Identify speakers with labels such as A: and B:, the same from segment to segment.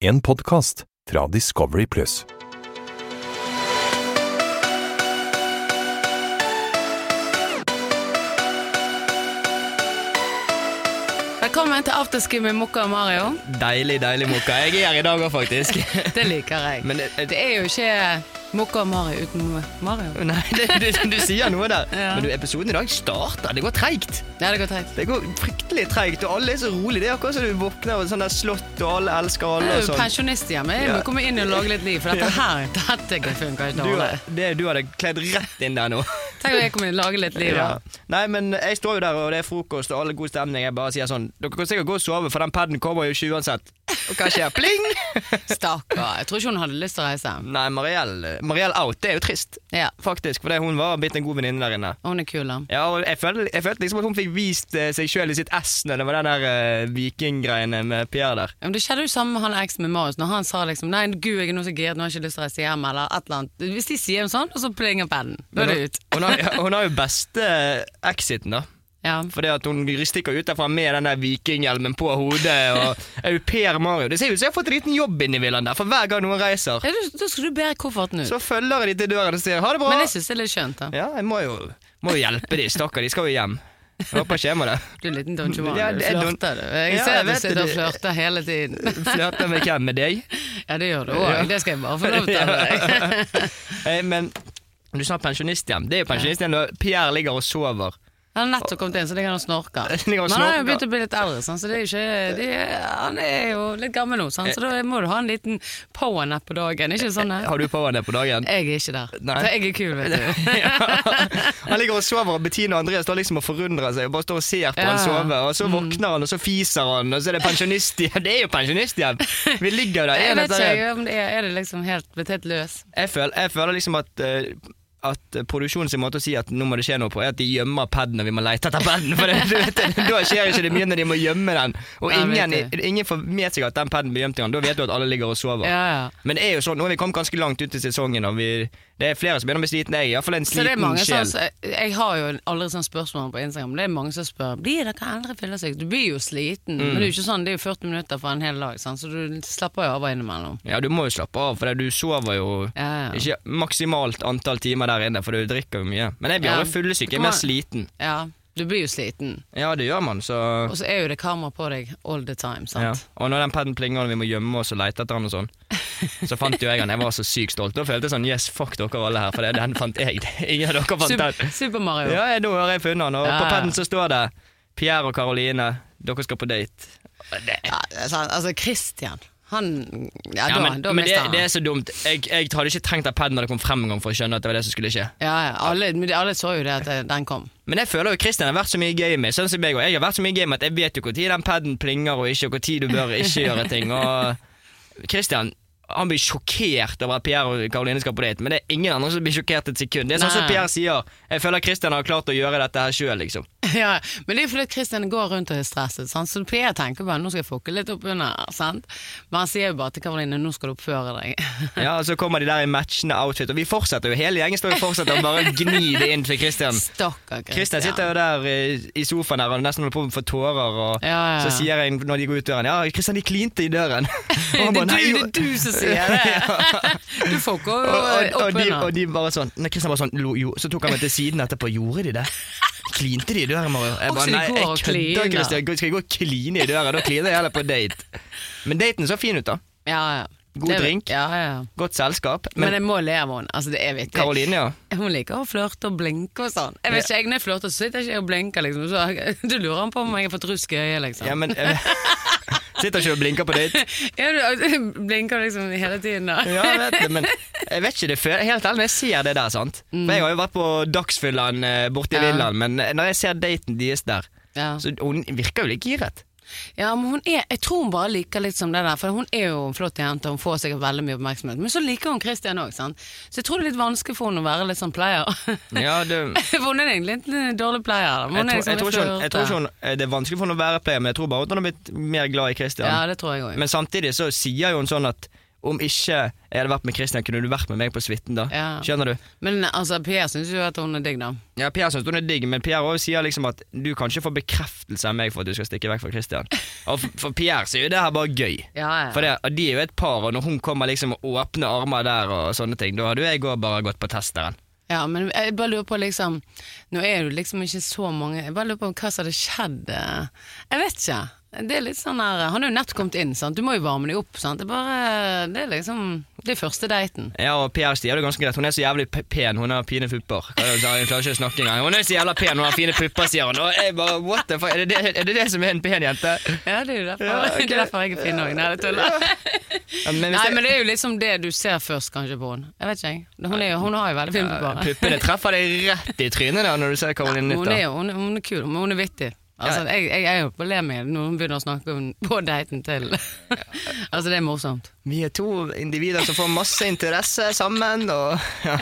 A: En podkast fra Discovery Pluss.
B: Velkommen til afterski med Mokka og Mario.
C: Deilig, deilig mokka. Jeg er her i dag òg, faktisk.
B: Det liker jeg.
C: Men det,
B: Det er jo ikke Mokka og Mario uten Mario.
C: Nei, det, du, du sier noe der.
B: Ja.
C: Men du, episoden i dag starter. Det går treigt.
B: Ja, det går teit.
C: Det går fryktelig treigt, og alle er så rolig. Det er akkurat som du våkner av et sånt der slott, og alle elsker
B: Jeg
C: alle.
B: er
C: og
B: jo
C: sånn.
B: pensjonist hjemme. Jeg må
C: Ja.
B: komme inn og lage litt liv, for dette her dette går- funker ikke.
C: Du,
B: dårlig.
C: det, du hadde kledd rett inn der nå.
B: Tenk om jeg kommer inn og lager litt liv. da.
C: Nei, men jeg står jo der, og det er frokost, og alle god stemning. Jeg bare sier sånn Dere kan sikkert gå og sove, for den paden kommer jo ikke uansett. Og hva skjer? Pling!
B: Stakkar. Jeg tror ikke hun hadde lyst til å reise hjem.
C: Nei, Mariell Mariell out. Det er jo trist,
B: Ja.
C: faktisk. For hun var blitt en god venninne der inne.
B: Og Hun er kul, da.
C: Ja, og jeg følte, jeg følte liksom at hun fikk vist eh, seg sjøl i sitt ess når det var den der eh, vikinggreiene med Pierre der.
B: Ja, Men det skjedde jo samme med han eksen med Marius, når han sa liksom Nei, gud, jeg er nå så giret, nå har jeg ikke lyst til å reise hjem, eller et eller annet. Hvis de sier noe sånt, og så plinger pennen. Da er det ut.
C: Hun har, hun har jo beste exiten, da.
B: Ja.
C: Fordi at hun stikker ut derfra med den der vikinghjelmen på hodet. Og au pair Mario. Det ser ut som jeg har fått en liten jobb inn i villaen der, for hver gang noen reiser,
B: Ja, du- Da skal du bære kofferten ut.
C: så følger de til døren og sier ha det bra.
B: Men jeg syns det er litt skjønt, da.
C: Ja, jeg må jo, må jo hjelpe de, stakkar. De skal jo hjem. Jeg håper ikke jeg må det.
B: Du er en liten Don Giovanni.
C: Ja,
B: Du
C: det er Don-
B: flørter, du. Jeg
C: Ja,
B: ser
C: jeg
B: at du
C: vet
B: sitter og
C: det.
B: flørter hele tiden.
C: Flørte med hvem? Med deg?
B: Ja, det gjør du òg.
C: Ja.
B: Det skal jeg bare få lov til. å være.
C: Eh, Men du sa pensjonisthjem. Det er jo pensjonisthjem når Pierre ligger og sover.
B: Han har nettopp kommet inn, så ligger han og snorker. Men
C: Ligger og
B: han har jo
C: snorker.
B: begynt å bli litt eldre, sånn, så det er jo ikke det er, Han er jo litt gammel nå, sånn, så da må du ha en liten powernap på dagen. Ikke sånn? eh?
C: Har du powernap på dagen?
B: Jeg er ikke der.
C: Nei.
B: Så jeg er kul, vet du.
C: Han ligger og sover, og Bettina og Andreas står liksom og forundrer seg. Og bare står og ser på
B: Ja. Mm.
C: han sove, og så våkner han, og så fiser han, og så er det pensjonisthjem. Det er jo pensjonisthjem! Vi ligger der
B: Jeg
C: en
B: vet
C: etter en.
B: ikke om det er, er det liksom helt, blitt helt løs.
C: Jeg føler, jeg føler liksom at eh, at produksjonen sin måte å si at nå må det skje noe på, er at de gjemmer paden når vi må lete etter paden. For det, du vet, da skjer ikke det mye når de må gjemme den. Og
B: Ja, jeg
C: ingen,
B: vet
C: ingen får med seg at den paden blir gjemt i gang. Da vet du at alle ligger og sover.
B: Ja, ja.
C: Men det er jo sånn, nå har vi kommet ganske langt ut i sesongen, og vi, det er flere som begynner å bli slitne. Jeg er iallfall en
B: Så det er
C: sliten
B: mange sånn,
C: sjel.
B: jeg har jo aldri sånn spørsmål på Instagram, men det er mange som spør Blir dere eldre fyllesyke. Du blir jo sliten,
C: Mm.
B: men det er jo ikke sånn, det er jo 40 minutter for en hel dag, sant? så du slapper jo av og innimellom.
C: Ja, du må jo slappe av, for du sover jo
B: Ja, ja.
C: ikke maksimalt antall timer der inne, for du drikker jo mye. Men jeg blir
B: Ja.
C: aldri fyllesyk, jeg er
B: Kommer-
C: mer sliten.
B: ja, du blir jo sliten,
C: Ja, det gjør man, så
B: og så er jo det kamera på deg all the time. sant?
C: ja. Og når den paden plinger og vi må gjemme oss og lete etter han og sånn, så fant jo jeg han. Jeg var så sykt stolt. Da følte jeg sånn yes, fuck dere alle her, for det, den fant jeg. Ingen av dere fant
B: Super,
C: den.
B: Super Mario.
C: Ja, jeg- nå har jeg funnet han, og
B: Ja,
C: på
B: ja.
C: paden så står det Pierre og Karoline, dere skal på date. Det
B: Ja, det er sant. altså Christian, han Ja,
C: Ja,
B: da,
C: men,
B: da
C: men det,
B: mister han.
C: det er så dumt. Jeg, jeg hadde ikke trengt at paden når det kom frem en gang for å skjønne at det var det som skulle skje.
B: ja, ja, alle, men de- alle så jo det at eh, den kom.
C: Men jeg føler jo Kristian har vært så mye game sånn som jeg, og jeg har vært så mye game at jeg vet jo når den paden plinger og ikke, og når du bør ikke gjøre ting. Og Kristian han blir sjokkert over at Pierre og Karoline skal på date, men det er ingen andre som blir sjokkert et sekund. Det er sånn som
B: Nei.
C: Pierre sier. Jeg føler Kristian har klart å gjøre dette her sjøl, liksom.
B: Ja, men det er fordi at Christian går rundt og er stresset, sant? så Per tenker bare nå skal jeg fucke litt opp under her, sant? Men han sier jo bare til Karoline nå skal du oppføre deg.
C: Ja, og Så kommer de der i matchende outfit, og vi fortsetter jo. Hele gjengen står og fortsetter å bare gni det inn til Kristian.
B: Stakkar
C: Kristian
B: Christian.
C: sitter jo der eh, i sofaen der og nesten holder på med å få tårer, og
B: Ja, ja, ja.
C: så sier jeg når de går ut døren Ja, Kristian, de klinte i døren. Og han
B: det,
C: bare,
B: er
C: «Nei,
B: du, det er
C: jo.»
B: du som sier det! Du fucker
C: og,
B: jo
C: og, og,
B: opp
C: de, og
B: under.
C: de bare sånn Nei, Kristian bare sånn lo, jo. Så tok han meg til siden etterpå. Gjorde de det? Klinte de i døren, Mario? Jeg
B: Og så
C: bare
B: de
C: nei,
B: går og
C: jeg
B: kliner.
C: kødder, Kristian. Skal jeg gå og kline i døren? Da kliner jeg heller på date. Men daten så fin ut, da.
B: Ja, ja.
C: God
B: Det-
C: drink.
B: Ja, ja.
C: Godt selskap.
B: Men,
C: Men
B: jeg må le av henne. Altså, det er vittig.
C: Karoline, ja.
B: Hun liker å flørte og blinke og sånn. Jeg vet ikke, jeg, Når jeg flørter, så sitter ikke jeg og blinker, liksom. Så, du lurer på om jeg har fått rusk i øyet, liksom.
C: ja men, eh, sitter ikke og blinker på date.
B: Ja, du blinker liksom hele tiden, da.
C: Ja, jeg vet det, men jeg vet ikke det før. Helt ærlig, når jeg ser det der, sant. For jeg har jo vært på Dagsfyllaen eh, borte i
B: Ja.
C: Lilland, men eh, når jeg ser daten deres der,
B: Ja.
C: så hun virker jo litt giret.
B: Ja, men hun er, Jeg tror hun bare liker litt som det der, for hun er jo en flott jente og hun får sikkert veldig mye oppmerksomhet. Men så liker hun Christian òg, sant. Så jeg tror det er litt vanskelig for henne å være litt sånn player.
C: Ja, det...
B: for hun er egentlig litt en dårlig player. da. Men
C: Jeg,
B: Hun
C: tror-
B: er liksom
C: jeg,
B: litt
C: tror ikke hun, jeg tror ikke
B: flørte.
C: hun, eh, Det er vanskelig for henne å være player, men jeg tror bare at hun har blitt mer glad i Christian.
B: Ja, det tror jeg òg.
C: Men samtidig så sier jo hun sånn at om ikke jeg hadde vært med Christian, kunne du vært med meg på suiten da?
B: Ja.
C: Skjønner du?
B: Men altså, Per syns jo at hun er digg, da.
C: Ja, Per syns hun er digg, men Per også sier liksom at du kan ikke få bekreftelse av meg for at du skal stikke vekk fra Christian. Og for, for Per så er jo det her bare gøy.
B: Ja, ja.
C: For det, og de er jo et par, og når hun kommer liksom og åpner armer der og sånne ting, da hadde jo jeg òg bare gått på testeren.
B: Ja, men jeg bare lurer på liksom Nå er det liksom ikke så mange Jeg bare lurer på hva som hadde skjedd eh, Jeg vet ikke Det er litt sånn her Han er jo nett kommet inn, sant Du må jo varme deg opp, sant Det er bare Det er liksom Det er første daten
C: Ja, og Per sier det ganske greit. Hun er så jævlig p- pen, hun har fine pupper. Hva er det Hun sier? Hun klarer ikke å snakke engang. Hun er så jævla pen, hun har fine pupper, sier hun. Og jeg bare, what the fuck, er det det, er det, det som er en pen jente?
B: Ja, det er jo derfor
C: Ja, ok.
B: Det er derfor jeg er fin også Nei, det tuller
C: Ja, men hvis
B: Nei,
C: det-
B: men det er jo liksom det du ser først kanskje på henne Jeg vet ikke jeg Hun, er jo, hun har jo veldig fin på
C: Ja,
B: bare
C: Puppene treffer deg rett i trynet da når du ser Karoline Nytt.
B: Hun
C: da.
B: er jo hun, er- hun er kul, men hun er vittig Altså, jeg, jeg er jo på le med når hun begynner å snakke om på daten til Altså, det er morsomt
C: Vi er to individer som får masse interesse sammen, og ja.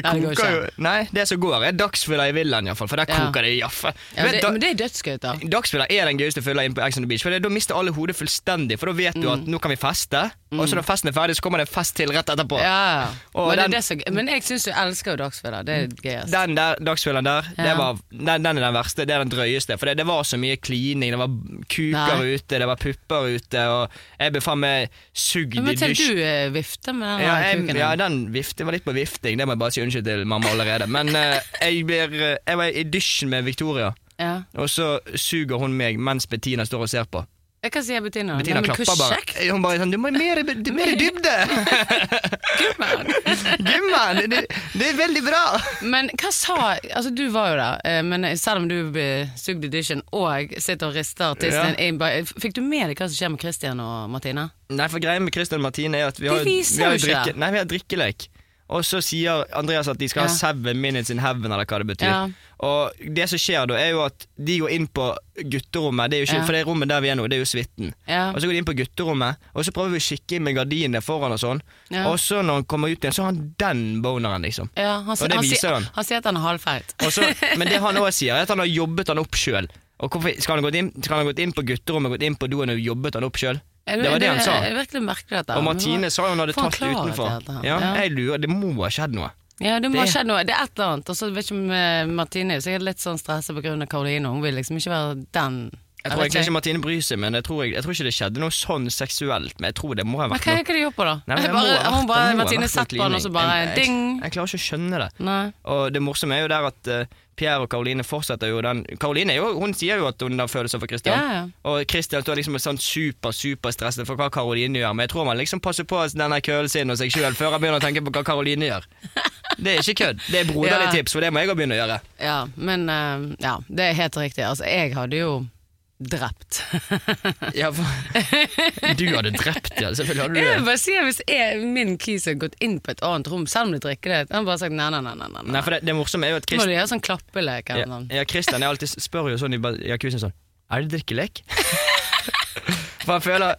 B: Nei, det går
C: koker jo
B: ikke.
C: Nei, det som går, er dagsfylla i villaen iallfall, for der
B: Ja.
C: koker det jaffe.
B: ja, det, Men det er dødsgøy da
C: Dagsfylla er den gøyeste fylla inne på Ex on the Beach. For det, Da mister alle hodet fullstendig, for da vet du
B: Mm.
C: at nå kan vi feste. Og så når festen er ferdig, så kommer det en fest til rett etterpå.
B: Ja,
C: Og
B: men, det er
C: den- Mm.
B: det som- men jeg syns jo elsker jo dagsfylla. Det er altså. gøyest.
C: Den der dagsfyllaen der,
B: Ja.
C: det var, den, den er den verste. Det er den drøyeste. For det, det var så mye klining. Det var kuker
B: Nei.
C: ute, det var pupper ute, og jeg ble faen meg sugd
B: Men
C: i
B: tenk
C: dusj.
B: du eh, vifter med den
C: Ja,
B: her
C: jeg,
B: kuken.
C: ja, den vift, det var litt på vifting. Det må jeg bare si unnskyld til mamma allerede. Men eh, jeg, blir, eh, jeg var i dusjen med Victoria,
B: Ja.
C: og så suger hun meg mens Bettina står og ser på.
B: Jeg kan si jeg Bettina.
C: Bettina
B: Nei, men
C: klapper
B: hvor
C: bare.
B: kjekt,
C: Eh, Hun bare sånn 'Du må i mer, i- du- mer i dybde!'
B: men.
C: Gumman! Det, det er veldig bra!
B: Men hva sa Altså, du var jo der, eh, men selv om du ble sugd i dusjen og sitter og rister tissen
C: Ja.
B: din bare- eh, Fikk du med deg hva som skjer med Christian og Martine?
C: Nei, for greia med Christian og Martine er at vi har,
B: De
C: vi
B: viser
C: har,
B: jo ikke
C: drikke,
B: det.
C: nei, vi har drikkelek. Og så sier Andreas at de skal
B: Ja.
C: ha seven minutes in heaven, eller hva det betyr.
B: Ja.
C: Og det som skjer da, er jo at de går inn på gutterommet, det er jo ikke,
B: Ja.
C: for det rommet der vi er nå, det er jo suiten.
B: Ja.
C: Og så går de inn på gutterommet, og så prøver vi å kikke inn med gardinene foran og sånn.
B: Ja.
C: Og så når han kommer ut igjen, så har han den boneren, liksom.
B: Ja, han, sier-
C: det
B: han,
C: viser
B: sier-
C: han.
B: han sier at han er halvfeit.
C: Og så, men det han òg sier, er at han har jobbet han opp sjøl. Og hvorfor skal han, gått inn, skal han ha gått inn på gutterommet, gått inn på doen og jobbet han opp sjøl?
B: Er
C: Det var det han sa.
B: Er virkelig merkelig dette.
C: Og
B: Men hva-
C: Martine sa jo hun hadde
B: får han
C: tatt det
B: klarhet i
C: utenfor.
B: dette her?
C: Ja,
B: Ja.
C: jeg lurer, Det må ha skjedd noe.
B: Ja, det må
C: Det-
B: ha skjedd noe. Det er et eller annet. Og så vet ikke om eh, Martine er sikkert litt sånn stressa pga. Karoline. Hun vil liksom ikke være den.
C: Jeg tror
B: vet
C: egentlig ikke Martine bryr seg, men jeg tror, jeg, jeg tror ikke det skjedde noe sånn seksuelt. Men jeg tror det må ha
B: Men
C: vært
B: hva
C: noe.
B: er det de gjør på, da?
C: Nei, men det må
B: bare,
C: ha vært-
B: hun bare,
C: det må ha
B: Martine
C: vært noe
B: setter på den, og så
C: klining.
B: bare
C: Jeg-
B: ding.
C: Jeg, jeg klarer ikke å skjønne det.
B: Nei.
C: Og det morsomme er jo der at eh, Pierre og Karoline fortsetter jo den Karoline er jo, hun sier jo at hun har følelser for Christian.
B: Ja, ja.
C: Og Christian står liksom sånn super, superstresset for hva Karoline gjør. Men jeg tror man liksom passer på denne kølen sin og seg sjøl før han begynner å tenke på hva Karoline gjør. Det er ikke kødd. Det er broderlig
B: Ja.
C: tips, for det må jeg òg begynne å gjøre.
B: Ja, men eh, ja, det er helt riktig. Altså, jeg hadde jo drept.
C: Ja, for, du hadde drept, ja. Selvfølgelig hadde du
B: Jeg vil
C: det.
B: bare si at Hvis jeg, min kis hadde gått inn på et annet rom, selv om de drikker det, han hadde bare sagt nei, nei, nei. nei, nei.
C: Nei, for det, det morsomme er jo at
B: Så må
C: Christian,
B: de gjøre sånn klappelek eller noe.
C: ja, ja, Christian jeg alltid spør jo sånn i ba- jacuzzien sånn Er det drikkelek? For han føler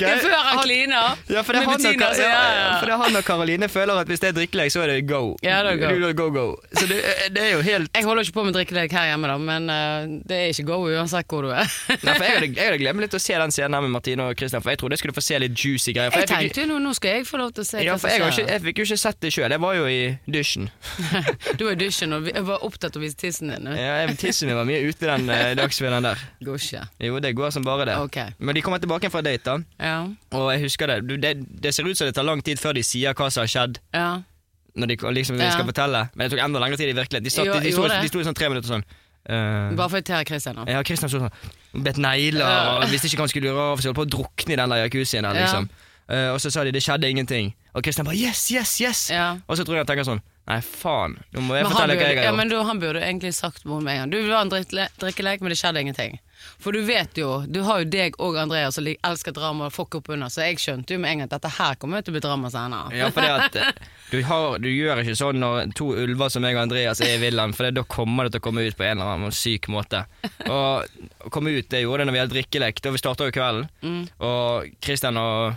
B: Det er Før han kliner.
C: Ja, for det er
B: med
C: han og,
B: Bettina,
C: Ka-
B: så
C: ja,
B: ja,
C: ja,
B: ja.
C: for det er han og Karoline føler at hvis det er drikkelek, så er det go.
B: Ja, det er go.
C: Du- du- go, go. Så det, eh, det er jo helt
B: Jeg holder ikke på med drikkelek her hjemme, da, men eh, det er ikke go uansett hvor du er.
C: Nei, for jeg hadde, jeg hadde glemt litt å se den scenen her med Martine og Christian, for jeg trodde jeg skulle få se litt juicy greier. For
B: jeg
C: fikk-
B: tenkte jo nå, nå skal jeg få lov til å se
C: ja,
B: hva
C: for
B: som
C: jeg, har ikke,
B: skjer.
C: jeg fikk jo ikke sett det sjøl, jeg var jo i dusjen.
B: Du var i dusjen og vi- jeg var opptatt av å vise tissen din. Det
C: Ja, jeg- Tissen min var mye ute den eh, dagsfilmen der.
B: Går ikke.
C: Jo, det går som bare det.
B: Ok.
C: Men de kommer tilbake fra date, da.
B: Ja.
C: Og jeg husker det. Du, det. Det ser ut som det tar lang tid før de sier hva som har skjedd.
B: ja.
C: Når de liksom
B: Ja.
C: skal fortelle Men det tok enda lengre tid i virkeligheten. De, satt,
B: Jo,
C: de, de, sto,
B: gjorde det.
C: de sto i sånn tre minutter sånn. eh,
B: Bare for å irritere Christian nå.
C: ja, Kristian sto sånn Bet negler
B: Ja.
C: og visste ikke hva han skulle gjøre av seg. Holdt på å drukne i den der jacuzzien der,
B: Ja.
C: liksom. Eh, og så sa de det skjedde ingenting. Og Kristian bare yes, yes, yes!
B: Ja.
C: Og så tror jeg han tenker sånn Nei, faen. Nå må jeg
B: Men han
C: fortelle
B: burde,
C: hva jeg
B: ja,
C: har gjort.
B: men du, han burde egentlig sagt noe med en gang. Du det var en drittle- drikkelek, men det skjedde ingenting. For du vet jo, du har jo deg og Andreas som lik- elsker drama og fuck opp under, så jeg skjønte jo med en gang at dette her kommer jo til å bli drama senere.
C: Ja, for det at eh, du, har, du gjør ikke sånn når to ulver som meg og Andreas er i villaen, for det, da kommer det til å komme ut på en eller annen syk måte. Og å komme ut, det gjorde det når vi hadde drikkelek. Da vi
B: Mm.
C: eh, starta jo kvelden. Og Kristian og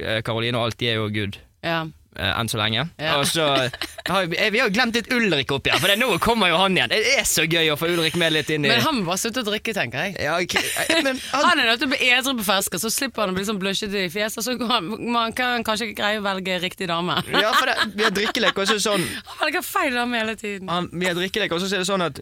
C: Karoline og alt, de er jo good.
B: Ja.
C: eh, enn så lenge.
B: Ja.
C: Og så har vi, eh, vi har jo glemt litt Ulrik oppi her, for det, nå kommer jo han igjen. Det er så gøy å få Ulrik med litt inn i
B: Men han må bare slutte å drikke, tenker jeg.
C: ja, ok, eh, men han,
B: Han er nødt til å bli edru på fersken, så slipper han å bli sånn bløsjete i fjeset. Så går han, man kan kanskje ikke greie å velge riktig dame.
C: ja, for det, vi har drikkelek, og så er det sånn
B: Han velger feil dame hele tiden.
C: han, Vi har drikkelek, og så er det sånn at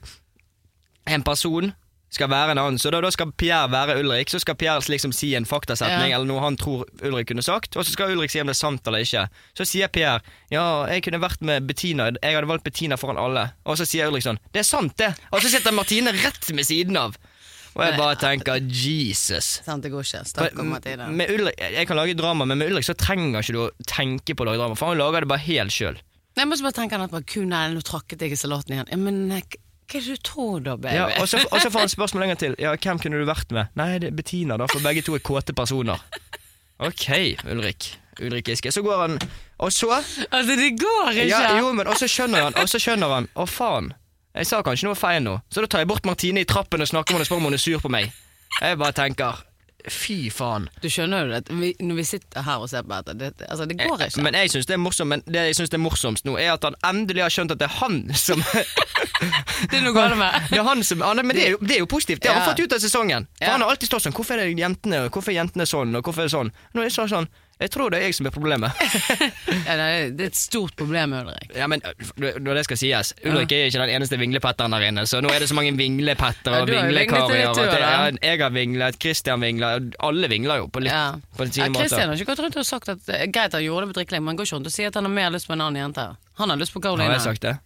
C: en person skal være en annen. Så da, da skal Pierre være Ulrik, så skal Pierre liksom si en faktasetning
B: Ja.
C: eller noe han tror Ulrik kunne sagt, og så skal Ulrik si om det er sant eller ikke. Så sier Pierre ja, jeg kunne vært med Bettina, jeg hadde valgt Bettina foran alle. Og så sier Ulrik sånn det er sant, det. Og så sitter Martine rett ved siden av. Og jeg bare tenker Jesus.
B: Sant, det går ikke. Stakkar Mathilde.
C: Med Ulrik, jeg kan lage drama, men med Ulrik så trenger ikke du å tenke på å lage drama, for han lager det bare helt sjøl.
B: Nei, Jeg må ikke bare tenke han at bare, «Ku, nei, nå trakket jeg i salaten igjen. Ja, men eh, k- hva er det du tror da, baby?
C: Ja, og, så, og så får han spørsmål lenger til. Ja, Hvem kunne du vært med? Nei, det er Bettina, da, for begge to er kåte personer. Ok, Ulrik. Ulrik Giske. Så går han, og så
B: Altså, det går ikke!
C: ja, Jo, men og så skjønner han, og så skjønner han. Å, faen. Jeg sa kanskje noe feil nå. Så da tar jeg bort Martine i trappen og snakker med henne og spør om hun er sur på meg. Jeg bare tenker fy faen.
B: Du skjønner jo det, vi, når vi sitter her og ser på dette, det, altså, det går ikke.
C: Men jeg syns det er morsomt Men det jeg synes det er morsomst nå, er at han endelig har skjønt at det er han som
B: det er noe galt med.
C: Det er han som, han, men det er, jo, det er jo positivt. Det har han
B: Ja.
C: fått ut av sesongen. For
B: Ja.
C: Han har alltid stått sånn. Hvorfor er det jentene Hvorfor er jentene sånn, og hvorfor er det sånn? Nå er det sånn, sånn Jeg tror det er jeg som er problemet.
B: Ja, det, er, det er et stort problem, Ulrik.
C: ja, men øh, Når det skal sies, Ulrik er ikke den eneste vinglepetteren der inne, så nå er det så mange vinglepettere
B: Ja,
C: og
B: du har jo
C: vinglekarer.
B: vinglet litt,
C: og
B: du,
C: at det-
B: da.
C: ja, Jeg har vinglet, Christian vingler, og alle vingler jo på litt
B: Ja.
C: på
B: Ja,
C: sine måter.
B: Kristian har ikke gått rundt og sagt at eh, Greit, han gjorde det på drikkelegg, men han går ikke rundt og sier at han har mer lyst på en annen jente. Han har lyst på
C: Har
B: Karoline.
C: jeg sagt det?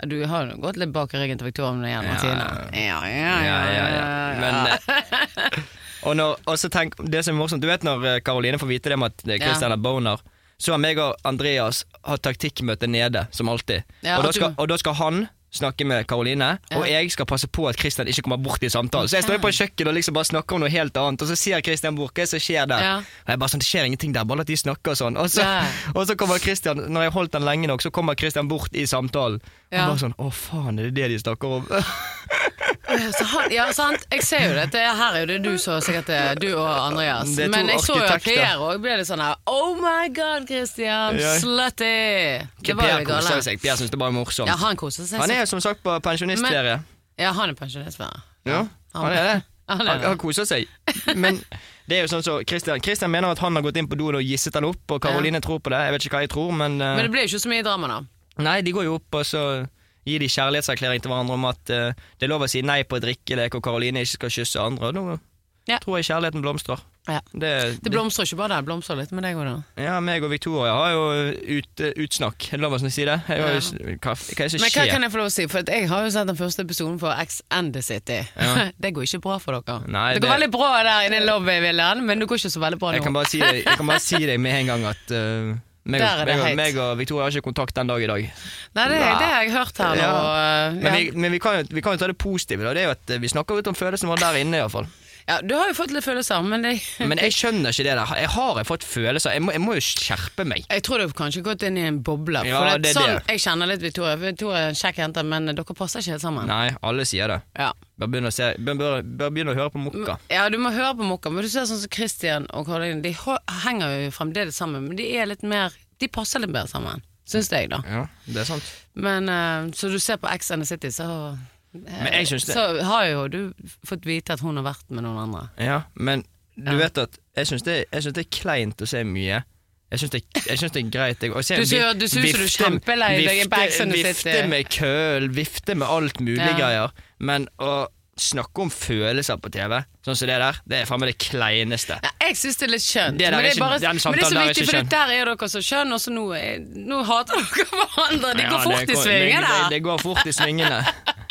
B: Ja, Du har jo gått litt bak i ryggen til Victoria når det gjelder Martine. Ja, ja,
C: Ja, ja, ja. Men, eh, og, når, og så tenk, det som er morsomt, du vet når eh, Caroline får vite det med at eh, Christian er boner, så har meg og Andreas hatt taktikkmøte nede, som alltid.
B: Ja, at
C: og, da
B: du-
C: skal, og da skal han snakke med Caroline, og
B: Ja.
C: jeg skal passe på at Christian ikke kommer bort i samtalen. Så jeg står jo på kjøkkenet og liksom bare snakker om noe helt annet, og så ser Christian bort, hva er det som skjer der?
B: Ja.
C: Og jeg bare sånn, det skjer ingenting der, bare la de snakke og sånn. Og så,
B: Ja.
C: og så kommer Christian, når jeg har holdt den lenge nok, så kommer Christian bort i samtalen. Og
B: Ja.
C: bare sånn, å faen, er det det de snakker om?
B: Ja, Så han, ja, sant. Jeg ser jo dette. Her er jo det du så sikkert eh, Du og Andreas.
C: Det er to
B: Men jeg så jo at
C: arkitekter.
B: Per òg ble litt sånn her Oh my god, Christian!
C: Ja.
B: Slutty! Det var jo
C: Per
B: det
C: koser
B: gale.
C: seg. Per syns det bare er morsomt.
B: Ja, han koser seg.
C: han
B: så-
C: er jo som sagt på pensjonistferie.
B: Ja, han er pensjonist, Sverre.
C: Ja, han er det.
B: Han er
C: Han,
B: det.
C: han koser seg. Men det er jo sånn så Christian, Christian mener at han har gått inn på doen og gisset han opp, og Karoline tror på det. Jeg vet ikke hva jeg tror, men, eh,
B: Men det ble jo ikke så mye drama, da.
C: Nei, de går jo opp, og så gir de kjærlighetserklæring til hverandre om at eh, det er lov å si nei på drikkelek, og Karoline ikke skal kysse andre. Og nå
B: Ja.
C: tror jeg kjærligheten blomstrer.
B: Ja.
C: Det,
B: Det blomstrer ikke bare der, det blomstrer litt med deg òg, da.
C: ja, meg og Victoria har jo ut, utsnakk. Er det lov å si det? Jeg har jo, hva, hva er det som
B: Men hva
C: skjer?
B: kan jeg få lov å si? For at jeg har jo sett den første episoden for X and the City. det går ikke bra for dere.
C: Nei,
B: det
C: det-
B: går veldig bra der inne i lobbyvillaen, men det går ikke så veldig bra
C: Jeg kan
B: nå.
C: bare si deg, jeg kan bare si deg med en gang at eh, meg,
B: Der er det
C: og- meg, og-
B: heit.
C: meg og Victoria har ikke kontakt den dag i dag.
B: Nei, det, det har jeg hørt her nå.
C: Ja.
B: og, eh,
C: Men,
B: ja.
C: vi, men vi, kan, jo- vi kan jo ta det positive. Da. Det er jo at eh, Vi snakker ut om følelsen vår der inne. I hvert fall.
B: ja, du har jo fått litt følelser, men det,
C: Men jeg skjønner ikke det der. Jeg har jeg fått følelser. Jeg må, jeg må jo skjerpe meg.
B: jeg tror du har kanskje gått inn i en boble. For
C: Ja,
B: at
C: det er
B: sånn,
C: det.
B: Jeg kjenner litt Victoria. Victoria er en kjekk jente, men dere passer ikke helt sammen.
C: Nei, alle sier det.
B: Ja.
C: Bare begynne å, se, bør, bør, bør begynne å høre på Mokka.
B: ja, du må høre på Mokka, men du ser sånn som Christian og Karoline, de ho- henger jo fremdeles sammen, men de er litt mer De passer litt bedre sammen, syns jeg, da.
C: Ja, det er sant.
B: Men eh, så du ser på X and the City, så eh,
C: Men jeg synes det-
B: Så har jo du fått vite at hun har vært med noen andre.
C: Ja, men du
B: Ja.
C: vet at jeg syns det, jeg synes det er kleint å se mye. Jeg syns det, jeg synes det er greit. Jeg, å se
B: Du ser-
C: vif-
B: du ser ut som du er
C: vifte-
B: kjempelei deg i
C: vifte-
B: backsiden du sitter
C: Vifte
B: i.
C: med køl, vifte med alt mulig
B: Ja.
C: greier. Men å snakke om følelser på TV, sånn som det der, det er faen meg det kleineste.
B: Ja, jeg syns det er litt skjønt,
C: Det der
B: men,
C: er
B: det
C: ikke-
B: er bare, men det
C: den
B: er
C: samtalen
B: så
C: der er
B: viktig,
C: ikke
B: for
C: skjønn.
B: der er dere så skjønn, og så nå, er- nå hater dere hverandre. De
C: Ja,
B: går fort i svingene.
C: Det, det går fort i svingene.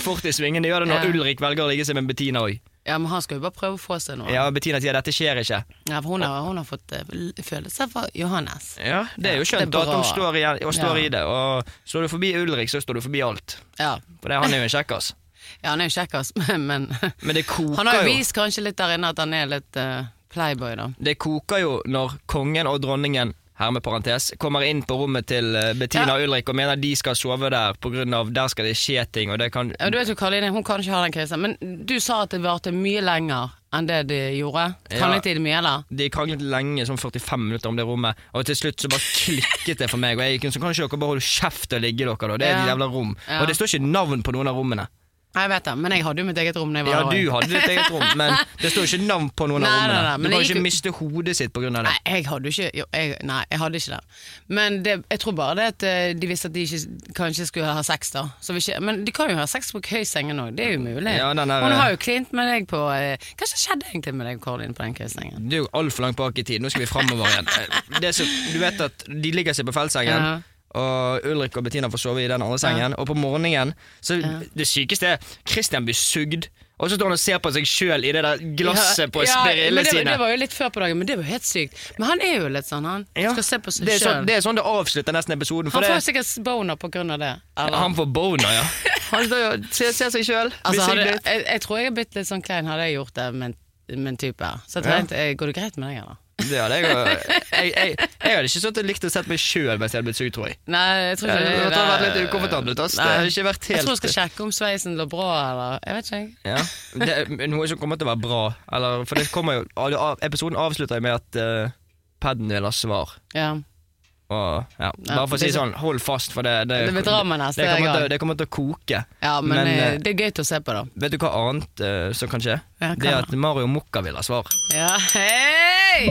C: Fort i svingene det gjør det når
B: Ja.
C: Ulrik velger å ligge seg med Bettina òg.
B: Ja, men han skal jo bare prøve å få seg noe. Ja.
C: Ja, Bettina sier 'dette skjer ikke'.
B: for hun har, hun har fått eh, l- følelser for Johannes.
C: Ja, Det er
B: Ja,
C: jo
B: det er
C: skjønt da, at hun
B: bra.
C: står, i, og står
B: Ja.
C: i det. Og står du forbi Ulrik, så står du forbi alt.
B: Ja,
C: For det, han er jo en kjekkas.
B: ja han er jo kjekkas, men, men
C: Men det koker
B: han har jo
C: jo.
B: vist kanskje litt der inne at han er litt eh, playboy, da.
C: Det koker jo når kongen og dronningen her med parentes, kommer inn på rommet til eh, Bettina og Ulrik og mener de skal sove der pga. der skal det skje ting. Og det kan
B: Ja, du vet jo, Karoline, hun kan ikke ha den krisen, men du sa at det varte mye lenger enn det de gjorde?
C: Ja.
B: Kranglet de mye, eller?
C: De kranglet lenge, sånn 45 minutter om det rommet, og til slutt så bare klikket det for meg. Og jeg gikk inn, så kan ikke dere bare holde kjeft og ligge dere, da. Det er et
B: Ja.
C: jævla rom.
B: Ja.
C: Og det står ikke navn på noen av rommene.
B: Nei, Jeg vet det, men jeg hadde jo mitt eget rom da jeg var
C: Ja,
B: der
C: du
B: også.
C: hadde ditt eget rom, men det står ikke navn på noen
B: Nei,
C: av
B: nei,
C: rommene.
B: nei, men
C: du
B: det
C: kan
B: gikk
C: ikke
B: jo-
C: miste hodet sitt på grunn av det.
B: Nei, jeg hadde jo ikke jo, jeg, Nei, jeg hadde ikke det. Men det, jeg tror bare det at eh, de visste at de ikke, kanskje skulle ha sex, da. Så vi ikke, men de kan jo ha sex på køysengen òg, det er jo mulig.
C: Ja, den der- eh,
B: Hun har jo klint med deg på eh, Hva som skjedde egentlig med deg og Karoline på den køysengen?
C: Du er jo altfor langt bak i tid. Nå skal vi framover igjen. Eh, Det er så, du vet at de ligger seg på feltsengen,
B: Ja.
C: og Ulrik og Bettina får sove i den andre sengen. Og på morgenen Så det sykeste er Christian blir sugd, og så står han og ser på seg sjøl i det der glasset på
B: men
C: sprillene
B: det,
C: sine.
B: det var jo litt før på dagen, men det var jo helt sykt. Men han er jo litt sånn, han.
C: Ja,
B: Skal se på seg
C: det, er sånn,
B: sjøl.
C: det er sånn det avslutter nesten episoden. For
B: Han får
C: det,
B: sikkert boner på grunn av det. eller?
C: han får boner, ja. Han står jo og ser, ser seg sjøl.
B: Altså, hadde, jeg, jeg tror jeg hadde blitt litt sånn klein hadde jeg gjort det med en- med en type. Så jeg tenkte, eh, går det greit med deg, eller?
C: Det hadde jeg jo. Jeg, jeg, jeg hadde ikke sånn likt å sett meg sjøl mens jeg hadde blitt sugd, tror jeg.
B: Nei, jeg tror
C: Ja,
B: ikke
C: det måtte ha vært litt ukomfortabelt, ass. Det
B: Nei.
C: hadde ikke vært
B: Jeg tror jeg
C: helt-
B: skal sjekke om sveisen lå bra, eller Jeg vet ikke, jeg.
C: Ja. Det er noe som kommer til å være bra. Eller, for det kommer jo av- av- Episoden avslutter jo med at uh, paden vil ha svar.
B: Ja.
C: Og, ja. Bare for å si sånn, hold fast, for det
B: Det blir drama neste
C: det kommer,
B: gang.
C: til, det kommer til å koke.
B: ja men, eh,
C: eh,
B: det er gøy til å se på, da.
C: vet du hva annet eh, som kan skje?
B: Ja, hva
C: det er
B: da?
C: at Mario Mokka vil ha svar.
B: Ja, hei!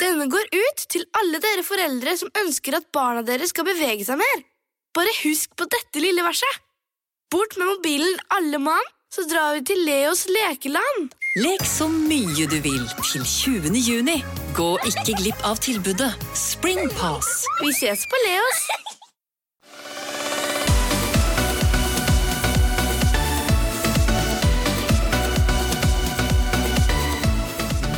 D: Denne går ut til alle dere foreldre som ønsker at barna deres skal bevege seg mer. Bare husk på dette lille verset. Bort med mobilen alle mann, så drar vi til Leos lekeland.
E: Lek så mye du vil til 20. juni. Gå ikke glipp av tilbudet Springpass.
D: Vi ses på Leos.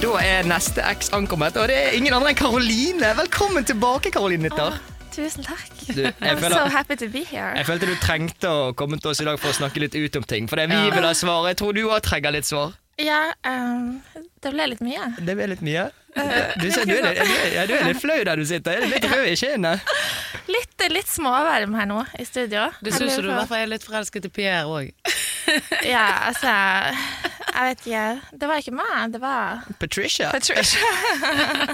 C: Da er neste X ankommet, og det er ingen andre enn Karoline. Velkommen tilbake, Karoline Nytter.
F: Tusen takk.
C: Du, jeg
F: I'm so
C: føler...
F: happy to be here.
C: Ah. Jeg følte du trengte å komme til oss i dag for å snakke litt ut om ting. For det er vi vil ha svar. Jeg tror du òg trenger litt svar.
F: Ja, ehm, det ble litt mye.
C: Det ble litt mye. Du, ser, du, er, litt- du, er, ja, du er litt flau der du sitter. Jeg er litt rød i kinnet.
F: Litt, litt småvarm her nå i studio.
B: Det
F: Jeg
B: syns du i
F: lurer
B: hvert
F: på-
B: fall er litt forelsket i Pierre òg.
F: Ja, altså Jeg vet ikke. Det var ikke meg, det var
C: Patricia.
F: Patricia.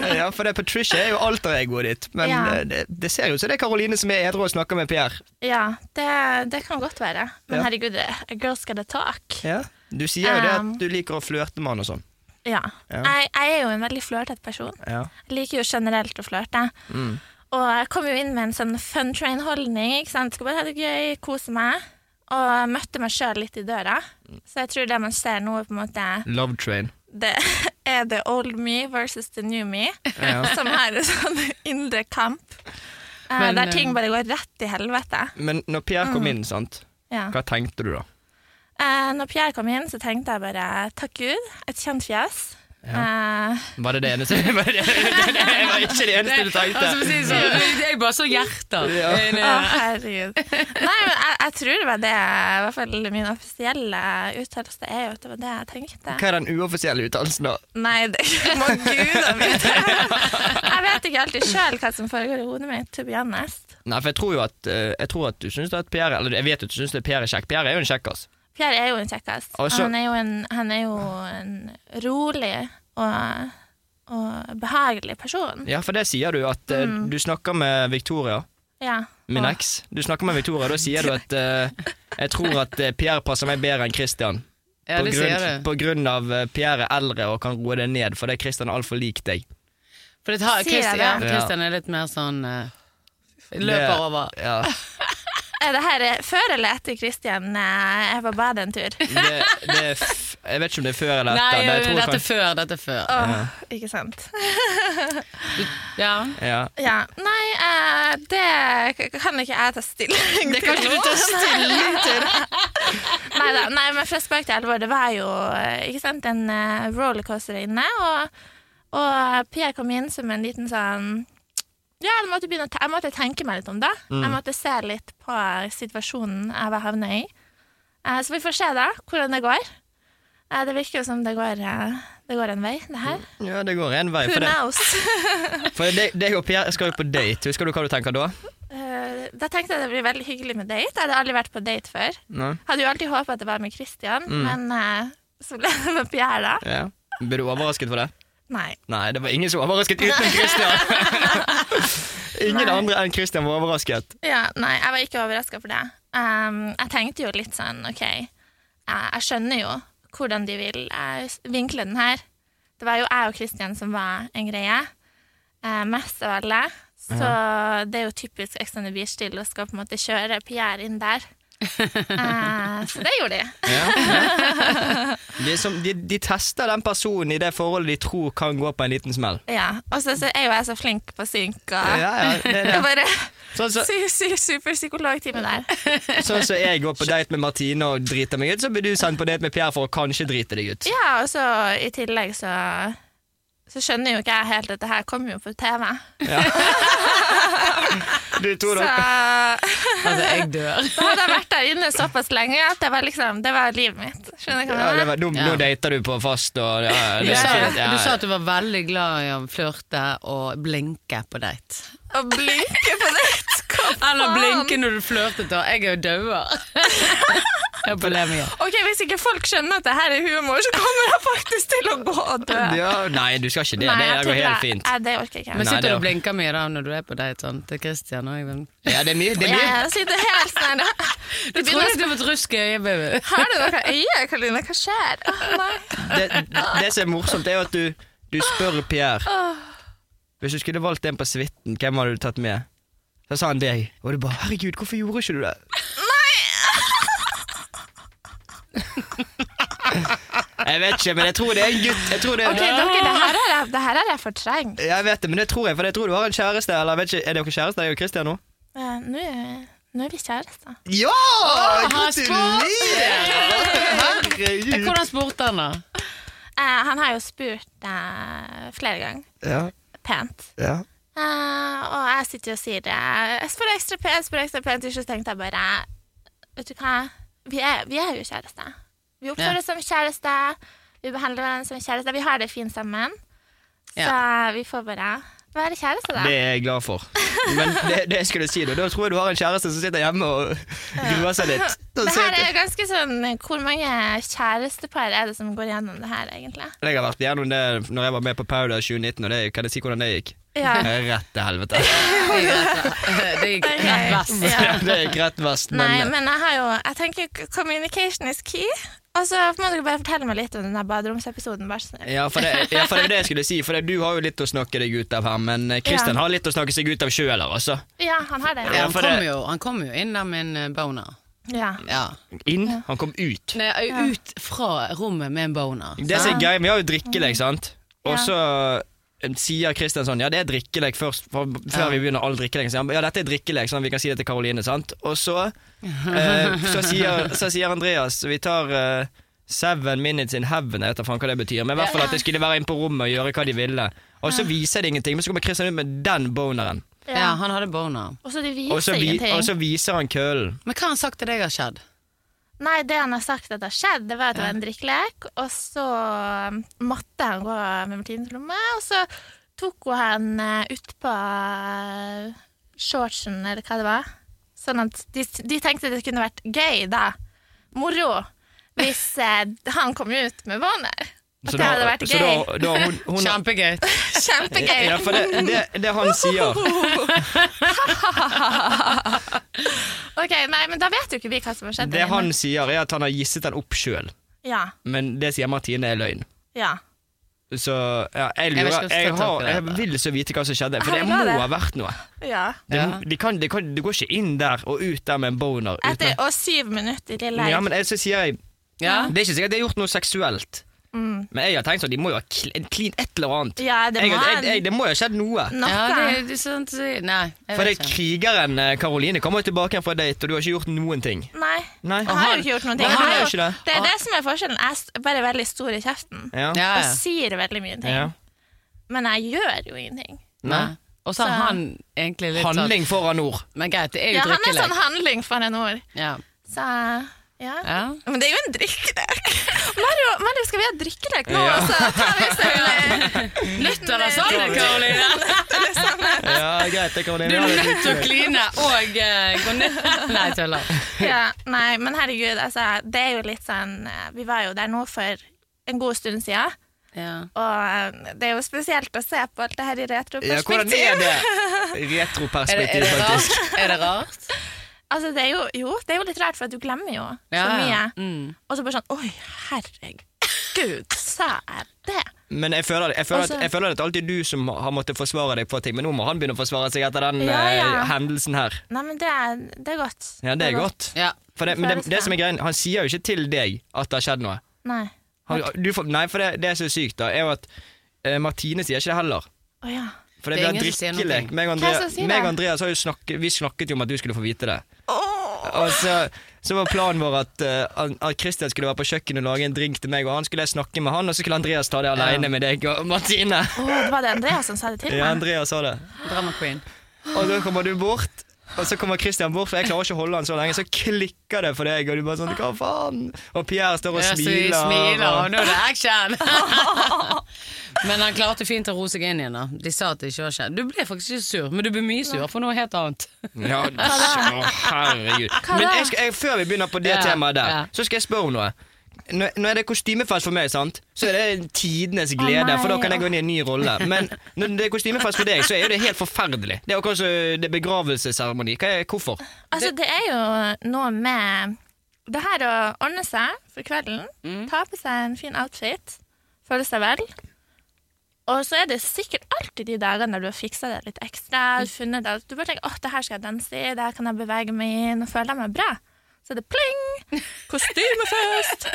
C: Ja, for det er Patricia er jo alteregoet ditt. Men
F: Ja.
C: eh, det, det ser jo ut som det er Karoline som er edru og snakker med Pierre.
F: Ja, det, det kan godt være. Men
C: Ja.
F: herregud, a girl's gotta talk.
C: Ja. Du sier jo det at
F: Um.
C: du liker å flørte med han og sånn.
F: Ja.
C: Ja.
F: Jeg, jeg er jo en veldig flørtete person.
C: Ja.
F: Jeg liker jo generelt å flørte. Og jeg kom jo inn med en sånn fun train-holdning. ikke sant? Skal bare ha det gøy, kose meg. Og jeg møtte meg sjøl litt i døra. Så jeg tror det man ser nå, er på en måte
C: Love train.
F: Det er the old me versus the new me,
C: Ja.
F: som her er en sånn indre kamp. eh,
B: Men,
F: der ting bare går rett til helvete.
C: Men når Pierre kom
F: Mm.
C: inn, sant,
F: Ja.
C: hva tenkte du da?
F: Eh, når Pierre kom inn, så tenkte jeg bare takk Gud, et kjent fjes. Eh,
C: Var det det eneste? Var det, det, det, det var ikke det eneste du
B: Altså, for å
C: tenkte.
B: si det sånn, jeg bare så hjerter.
C: Ja. Ah.
B: Men,
F: Å,
B: eh,
F: herregud. Nei, men jeg, jeg tror det var det I hvert fall min offisielle uttalelse er jo at det var det jeg tenkte.
C: Hva er den uoffisielle uttalelsen da?
F: Nei, det må gudene vite. Jeg vet ikke alltid sjøl hva som foregår i hodet mitt, to be honest.
C: Nei, for jeg tror jo at, eh, jeg tror at du syns at Pierre Eller jeg vet at du syns Pierre er kjekk. Pierre er jo en kjekkas.
F: Pierre er jo en kjekkas.
C: Og så-
F: Han er jo en, han er jo en rolig og, og behagelig person.
C: Ja, for det sier du at eh, du snakker med Victoria,
F: Ja.
C: min
F: og-
C: eks. Du snakker med Victoria, da sier du at eh, jeg tror at eh, Pierre passer meg bedre enn Christian.
B: ja, det
C: på, grunn,
B: sier du.
C: på grunn av eh, Pierre er eldre og kan roe det ned, fordi Christian er altfor lik deg.
B: For det har,
F: Sier
B: Christian,
F: jeg
B: ja,
F: det?
B: Christian er litt mer sånn eh,
C: Det-
B: Løper over.
C: Ja,
F: Er det her eh, før eller etter Christian eh, er på badet en tur?
C: det, det er f jeg vet ikke om det er før eller
B: Nei,
C: etter. men jeg tror
B: dette er
C: kanskje-
B: før. Dette er før.
F: Åh, Ikke sant.
B: Ja.
C: ja.
F: Ja, nei, eh, det k- kan ikke jeg ta stilling
B: Det kan ikke du ta
F: stilling til. nei, da, nei, men fra spøk til alvor, det var jo eh, ikke sant, en eh, rollercoaster inne, og, og Pia kom inn som en liten sånn ja, jeg måtte, begynne å te jeg måtte tenke meg litt om det.
C: Mm.
F: Jeg måtte se litt på situasjonen jeg var havna i. Eh, så vi får se da, hvordan det går. Eh, det virker jo som det går, eh, det går en vei, det her.
C: ja, det går én vei.
F: Who
C: Mm. For, det,
F: knows?
C: for det, deg og Pierre skal jo på date. Husker du hva du tenker da?
F: Eh, da tenkte jeg det blir veldig hyggelig med date. Jeg hadde aldri vært på date før.
C: Nei. Mm.
F: Hadde jo alltid håpet at det var med Christian, men eh, som leder med Pierre da.
C: Ja. Ble du overrasket for det?
F: Nei.
C: Nei, det var ingen som var overrasket utenom Christian. ingen
F: Nei.
C: andre enn Christian var overrasket.
F: Ja, nei, jeg var ikke overraska for det. Ehm, jeg tenkte jo litt sånn OK, jeg, jeg skjønner jo hvordan de vil eh, s- vinkle den her. Det var jo jeg og Kristian som var en greie. eh, mest av alle. Så det er jo typisk Ex on the Beach-stil å skal på en måte kjøre Pierre inn der. Eh, så det gjorde de.
C: De, som, de, de tester den personen i det forholdet de tror kan gå på en liten smell.
F: Ja, Og så så er jo jeg så flink på synk. Og
C: Ja, ja, det er det.
F: Jeg bare
C: Sånn som
F: sy, sy, Superpsykologtime der.
C: sånn som jeg går på date med Martine og driter meg ut, så blir du sendt på date med Pierre for å kanskje drite deg ut.
F: Ja, og så i tillegg så så skjønner jo ikke jeg helt at det her kommer jo på TV.
C: Du
F: Så
C: tror
F: da
C: da
B: Altså, jeg dør.
F: hadde jeg vært der inne såpass lenge at det var liksom, det var livet mitt. Skjønner du
C: ja,
F: hva
C: det
F: jeg mener?
C: var, nå, nå
B: Ja.
C: dater du på fast og ja, ja,
B: Du
C: det,
B: sa,
C: er fint,
B: du sa
C: ja.
B: at du var veldig glad i å flørte og blinke på date.
F: Å blinke på nett! Hva
B: Eller
F: faen?
B: blinke når du flørtet, da. Jeg er jo dauer. Jeg er på det mye.
F: Ok, Hvis ikke folk skjønner at det her er humor, så kommer jeg faktisk til å gå og dø.
C: ja, Nei, du skal ikke det.
F: Nei,
C: det
F: jeg
C: går
F: tror
C: helt
F: det-
C: fint.
F: Nei, det orker ikke jeg.
B: Men
C: Nei, det
B: sitter du
C: er-
B: og blinker mye da når du er på date sånn, til Christian? Og jeg,
C: Ja, det er mye. Det er mye.
F: Ja, jeg sitter helt sånn
B: du trodde jeg skulle få et rusk i øyet, baby.
F: Har du noe øye, Karoline? Hva skjer? Å, nei.
C: det, det som er morsomt, er jo at du, du spør Pierre Hvis du skulle valgt en på suiten, hvem hadde du tatt med? Så sa han deg. Og du bare 'herregud, hvorfor gjorde ikke du det?' Nei! jeg vet ikke, men jeg tror det er en gutt. Jeg tror det er
F: Ok, dere, det her har jeg, det her har jeg fortrengt.
C: Jeg vet det, men det tror jeg, for jeg tror du har en kjæreste. Eller jeg vet ikke, Er dere kjærester, jeg og Christian nå?
F: Eh, Nå er- nå er vi kjærester.
C: Ja!
B: han spurte!
C: Herregud.
B: Hvordan spurte han, da?
F: Eh, han har jo spurt eh, flere ganger,
C: Ja,
F: pent.
C: ja.
F: Eh, og jeg sitter jo og sier det. Jeg spør ekstra pent, jeg spør ekstra pent. Til slutt tenkte jeg bare Vet du hva, vi er, vi er jo kjærester. Vi
B: Ja.
F: oppfører oss som kjærester. Vi behandler hverandre som kjærester. Vi har det fint sammen. Så vi får bare være kjærester, da.
C: Det er jeg glad for. Men det, det jeg skulle si, da, da tror jeg du har en kjæreste som sitter hjemme og gruer seg litt. Så
F: Det her
C: sitter-
F: er jo ganske sånn Hvor mange kjærestepar er det som går gjennom det her, egentlig?
C: Jeg har vært gjennom det når jeg var med på Paula 2019, og det, kan jeg si hvordan det gikk?
F: Ja.
C: Rett til helvete.
B: Det gikk rett- det gikk rett vest.
F: Ja.
C: Det gikk rett vest, men
F: Nei, men jeg har jo Jeg tenker k- communication is key. Og så må dere bare fortelle meg litt om den der baderomsepisoden. Vær så snill.
C: ja, for det, ja, for det er det jeg skulle si, for det, du har jo litt å snakke deg ut av her, men eh, Christian
F: Ja.
C: har litt å snakke seg ut av sjøl her, altså.
F: Ja, han har det.
B: Ja,
F: Ja.
B: han,
C: for
B: kom
C: det-
B: jo, han kom jo inn der med en eh, boner.
F: ja.
B: Ja.
C: Inn, han kom ut.
B: Nei, ut fra rommet med en boner.
C: Det som er gøy, vi har jo
F: Mm.
C: drikkelek, sant? Og så eh, sier Kristian sånn, ja det er drikkelek først, for, før vi begynner all drikkelek. Så han, ja dette er drikkelek, sånn vi kan si det til Karoline, sant? Og så, eh, så, sier, så sier Andreas, vi tar eh, seven minutes in heaven, jeg vet da faen hva det betyr, men i hvert fall at de skulle være inne på rommet og gjøre hva de ville. Og så viser det ingenting, men så kommer Kristian ut med den boneren.
B: Ja, han hadde boner.
F: Og så de
C: Og så,
F: viser
C: vi,
F: ingenting.
C: og så viser han kølen.
B: Men hva har han sagt til deg har skjedd?
F: Nei, det han har sagt at det har skjedd, det var at det var en drikkelek, og så um, måtte han gå med Martines lomme, og så tok hun han eh, ut på eh, shortsen, eller hva det var. Sånn at de, de tenkte det kunne vært gøy, da. Moro. Hvis eh, han kom ut med våner. At det hadde vært
C: så
F: gøy.
C: da, da hun, hun,
B: Kjempegøy.
F: Kjempegøy.
C: Ja, for det, det, det han sier.
F: Ok, nei, men da vet jo ikke vi hva som har skjedd.
C: Det han sier er at han har gisset den opp sjøl,
F: Ja,
C: men det sier Martine er løgn.
F: ja.
C: Så ja, jeg
B: Jeg vet ikke om
C: lurer jeg,
B: jeg skal ta
C: har,
B: tak i
C: jeg
B: det.
C: vil så vite hva som skjedde, for det
F: Jeg vil ha
C: må
F: det.
C: ha vært noe.
F: ja.
C: Det,
B: Ja.
C: de kan, de kan, du går ikke inn der og ut der med en boner. uten
F: Etter,
C: at-
F: og syv minutter i leir.
C: ja, men jeg, så sier jeg
B: Ja.
C: Det er ikke sikkert de har gjort noe seksuelt,
B: Mm.
C: men jeg har tenkt sånn de må jo ha kl- clean et eller annet.
F: Ja, det
C: jeg,
F: må
C: jeg,
F: ha
C: jeg, det må jo ha skjedd noe.
F: noe.
B: Ja, det, det, er sant, det- nei, Mm, jeg
C: For det
B: vet
C: er
B: ikke.
C: krigeren eh, Karoline kommer tilbake igjen fra date, og du har ikke gjort noen ting.
F: Nei.
C: Nei.
F: Jeg har jo ikke gjort noen ting.
C: Nei,
F: Jeg
C: han
F: har
C: har
F: jo,
C: jo ikke det.
F: det er det som er forskjellen. Jeg er bare veldig stor i kjeften
C: Ja.
B: Ja,
F: og
B: ja.
F: sier veldig mye ting.
C: Ja.
F: Men jeg gjør jo ingenting.
C: Nei.
B: Nei. Og så har han egentlig litt
C: Handling foran ord.
B: sånn Men greit, det er jo
F: Ja, han er sånn
B: drikkelek.
F: handling for en ord.
B: Ja.
F: Så ja.
B: Ja.
F: Men det er jo en drikkelek! Mario, Mario, skal vi ha drikkelek nå?
C: Ja.
F: Så tar vi oss en eh,
B: Lytter det sånn, Karoline?
C: Ja, greit, det kan
B: Du sånn- er sånn- nødt til å kline og eh, gå ned Nei, jeg tuller.
F: Ja, nei, men herregud, altså, det er jo litt sånn eh, Vi var jo der nå for en god stund siden,
B: Ja.
F: og eh, det er jo spesielt å se på alt det her i
C: Ja, hvordan
F: retroperspektiv.
C: er det?
B: Er, det- er,
C: Retroperspektiv,
B: det
C: faktisk.
B: rart? er det rart?
F: altså, det er jo, jo, det er jo litt rart, for at du glemmer jo så
B: Ja,
F: mye.
B: ja. Mm.
F: Og så bare sånn Oi, herregud, sa jeg det?
C: Men jeg føler, jeg, føler at,
F: Altså-
C: jeg føler at det er alltid du som har måttet forsvare deg for ting, men nå må han begynne å forsvare seg etter den
F: Ja, ja.
C: eh, hendelsen her.
F: Nei, men det er, det er godt.
C: Ja, det er godt.
B: Ja.
C: For det, men det, det som er greien, han sier jo ikke til deg at det har skjedd noe.
F: Nei.
C: Han, du får, nei, for det, det som er sykt, da, er jo at eh, Martine sier ikke det heller.
F: Å ja.
C: For det,
B: Det er
C: blir
B: ingen som sier noe.
C: drikkelek. Meg og
F: Hvem
C: Andrea-
F: som sier
C: meg
F: det?
C: og Andreas har jo snakket, vi snakket jo om at du skulle få vite det. Og så, så var planen vår at, eh, at Christian skulle være på kjøkkenet og lage en drink til meg, og han skulle jeg snakke med han, og så skulle Andreas ta det alene med deg og Martine.
F: Å, det var det Andreas som sa det til
C: Ja,
F: meg?
C: Andreas sa det.
B: Drama queen.
C: Og da kommer du bort, og så kommer Christian bort, for jeg klarer ikke å holde han så lenge. Så klikker det for deg, og du bare sånn Hva faen? Og Pierre står og
B: Ja, så
C: smiler.
B: vi smiler,
C: og-
B: og nå er det action! men han klarte fint å roe seg inn igjen. da De sa at det ikke var skjedd. Du ble faktisk ikke sur, men du ble mye sur for noe helt annet.
C: Ja, å, herregud. Men jeg skal, jeg, før vi begynner på det
B: Ja,
C: temaet der,
B: ja.
C: så skal jeg spørre om noe. Når, når det er kostymefest for meg, sant? så er det tidenes glede,
F: nei,
C: for da kan jeg
F: åh.
C: gå inn i en ny rolle. Men når det er kostymefest for deg, så er jo det helt forferdelig. Det er akkurat som det er begravelsesseremoni. Hva er- Hvorfor?
F: Altså, det er jo noe med det her å ordne seg for kvelden, ta på seg en fin outfit, føle seg vel. Og så er det sikkert alltid de dagene der du har fiksa det litt ekstra. funnet det, Du bare tenker åh, det her skal jeg danse i, det her kan jeg bevege meg i, nå føler jeg meg bra. Så er det pling! Kostymefest!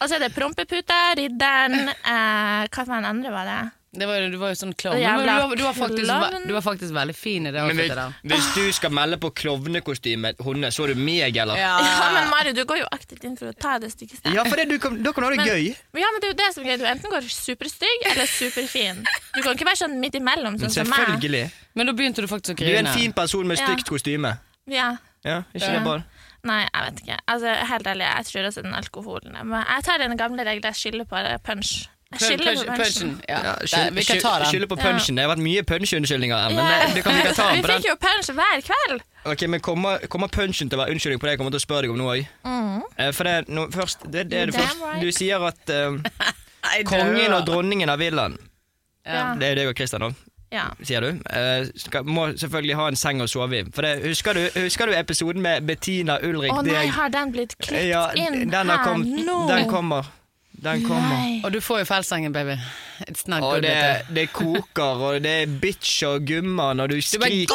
F: Og så er det Prompeputa, Ridderen eh, Hva for en andre var det?
B: Det var, jo- du var jo sånn klovn.
F: Og jævla
B: Men Du, var- du, var faktisk
F: klovn.
B: ve- du var faktisk veldig fin i det
C: Men
B: outfitet
C: hvis,
B: der.
C: hvis du skal melde på klovnekostyme, Honne, så er du meg, eller?
F: Ja, men Mari, du går jo aktivt inn for å ta det styggeste.
C: Ja, for det, du kan, da kan du ha det gøy.
F: Men ja, men det er jo det som er greit. Du enten går superstygg eller superfin. Du kan ikke være sånn midt imellom, sånn som meg.
C: Selvfølgelig.
B: Men da begynte du faktisk å
C: Du er
B: grine.
C: en fin person med
F: Ja.
C: stygt kostyme.
F: Ja.
C: Ja, ikke det bare?
F: Nei, jeg vet ikke. Altså, helt ærlig, jeg tror også den alkoholen er- Men jeg tar den gamle regelen, jeg skylder på det. punch. Jeg
B: Punch-
F: skylder
B: punch-
F: på punchen.
B: punchen. Ja.
C: Ja,
B: Der, vi kan ta
C: skyld- Skylder
B: den.
C: på punchen. Det har vært mye punch-unnskyldninger her, men
F: Ja.
C: det, det kan vi kan ta den
F: Vi
C: på den.
F: fikk jo punch hver kveld.
C: Ok, men kommer, kommer punchen til å være unnskyldning på det jeg kommer til å spørre deg om nå òg? For det, er no, først, det, det er det
F: Mm. Damn
C: først.
F: right.
C: Du sier at eh,
B: Nei,
C: kongen
B: døra.
C: og dronningen av villaen
F: Ja.
C: Det er deg og Christian òg,
F: ja.
C: sier du. eh, skal, må selvfølgelig ha en seng å sove i. For det, husker, du, husker du episoden med Bettina Ulrik?
F: Å nei,
C: deg?
F: har den blitt klippet
C: ja,
F: inn
C: den har
F: her
C: kommet-
F: nå?
C: Den kommer. Den kommer.
F: Nei.
B: Og du får jo feilsengen, baby. It's not
C: Og
B: good.
C: det,
B: vet
C: det koker, og det er bitch og gumma når du skriker.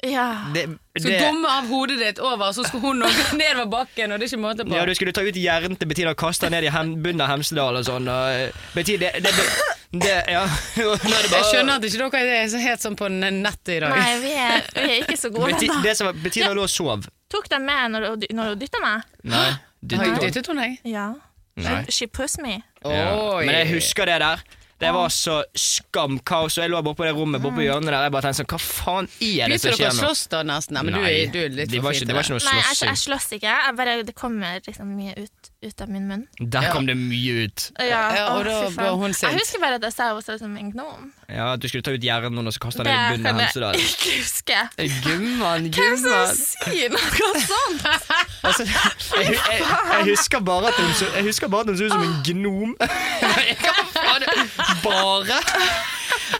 F: Ja.
C: Det,
B: du.
C: det-
B: Skal gomme av hodet ditt over, så skal hun også nedover bakken, og det er ikke måte på.
C: Ja, du skulle ta ut hjernen til Bettina og kaste den ned i hem, bunnen av Hemsedal og sånn. Og, eh, Bettina, det, det, det, det Ja. Nå er det bare-
B: Jeg skjønner at ikke dere er så helt sånn på n- nettet i dag.
F: Nei, vi er, vi er ikke så gode
C: Beti,
F: ennå.
C: det som var, Bettina lå og sov.
F: Tok den med når hun- når hun dytta meg?
C: Nei. Du,
B: Har jeg dyttet henne, jeg?
F: Ja.
C: Nei.
F: She pushed me.
C: ja.
B: Oi.
C: Men jeg husker det der. Det var så skamkaos, og jeg lå bortpå det rommet bortpå hjørnet der. Jeg bare tenkte sånn, hva faen er det
B: Mm. Begynte
C: som
B: dere å
C: skjer nå?
B: slåss da, nesten? Nei, men du,
C: Nei,
B: er- du er litt
C: det
B: for
C: var
B: fin
C: ikke,
B: til
C: det var ikke noe
F: Nei, jeg, jeg
C: slåssing.
F: slåss ikke. Jeg bare, det kommer liksom mye ut, ut av min munn.
C: Der kom det mye ut.
B: Ja, og
F: å,
B: da
F: fy faen.
B: ble hun sint.
F: Jeg husker bare at jeg sa hun så ut som en gnom.
C: Ja, at du skulle ta ut hjernen og så kaste den
F: Det
C: i
F: kan
C: bunnen av Hemsedal.
F: jeg ikke huske.
C: Gumman,
F: Hvem
C: gumman.
F: som sier noe sånt?
C: Altså, jeg, jeg, jeg husker bare at hun så jeg husker bare at hun så ut som en gnom. Hva faen? Bare?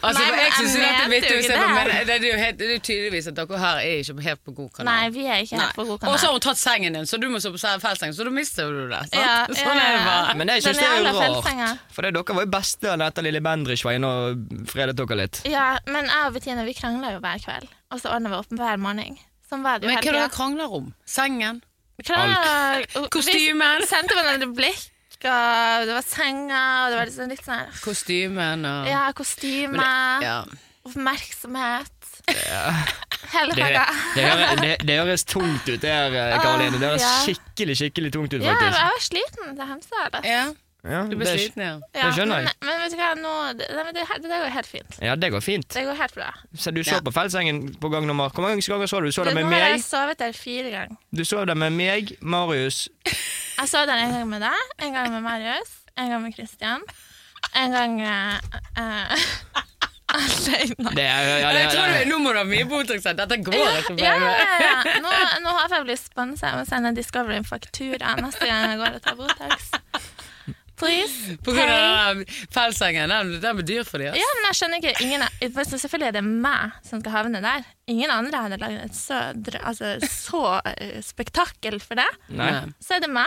B: Altså,
F: Nei, men
B: jeg
F: jeg
B: synes jo dette er
F: mente
B: vittig
F: jo
B: å
F: ikke
B: se på,
F: det.
B: men det er jo helt, det er jo tydeligvis at dere her er ikke helt på god kanal.
F: Nei, vi er ikke helt på
B: Og
F: god
B: så har
F: kanal.
B: hun tatt sengen din, så du må sove på feltseng, så da mister du det. Sant?
F: Ja, ja,
B: Sånn er det bare.
C: Men jeg synes
F: Den
C: det er jo
F: jævla fjellsenga.
C: rart. For det, dere var jo bestevenner etter Lille Bendriss var inne og fredet dere litt.
F: Ja, men jeg og Bettina vi krangla jo hver kveld, og så ordna vi opp hver morgen. Sånn var det jo
B: Men hva er det
F: hele
B: dere
F: tida.
B: krangler om? Sengen?
F: Krangla-
B: Kostymen.
F: Vi Sendte hverandre blikk, og det var senga, og det var liksom litt sånn her
B: Kostymen og
F: Ja, kostyme,
B: Ja.
F: oppmerksomhet. Hele
C: Det,
F: pakka.
C: det, hører- det, det høres tungt ut der, eh, Karoline. Det høres skikkelig skikkelig tungt ut,
F: Ja, jeg
C: faktisk.
F: var sliten til Hemsedal.
B: ja.
C: Ja,
B: Du blir
C: det,
B: sliten, ja.
F: Ja,
C: skjønner jeg.
F: Men, men vet du hva, nå, det, nei, men det, her- det der går helt fint.
C: ja, det går fint.
F: Det går helt bra.
C: Så du så
B: Ja.
C: på Feldsengen på gang nummer Hvor mange ganger så du? Du så det
F: nå
C: med
F: har jeg
C: meg,
F: sovet der fire ganger.
C: du så det med meg Marius
F: Jeg sov der en gang med deg, en gang med Marius, en gang med Christian, en gang eh, eh, alene.
C: Det er, ja, det,
B: Jeg tror det, nå må du ha mye Botox. her. Dette går ikke.
F: Ja,
B: Børge.
F: ja, ja. Nå, nå har jeg blitt sponsa. Jeg må sende Discovery en faktura neste gang jeg går og tar Botox. Please.
B: På grunn av den der pelssengen. Den, den blir dyr for altså. dem.
F: Ja, men jeg skjønner ikke ingen, for Selvfølgelig er det meg som skal havne der. Ingen andre hadde lagd et så, dr- altså, så eh, spektakel for det.
C: Nei,
F: Så er det meg.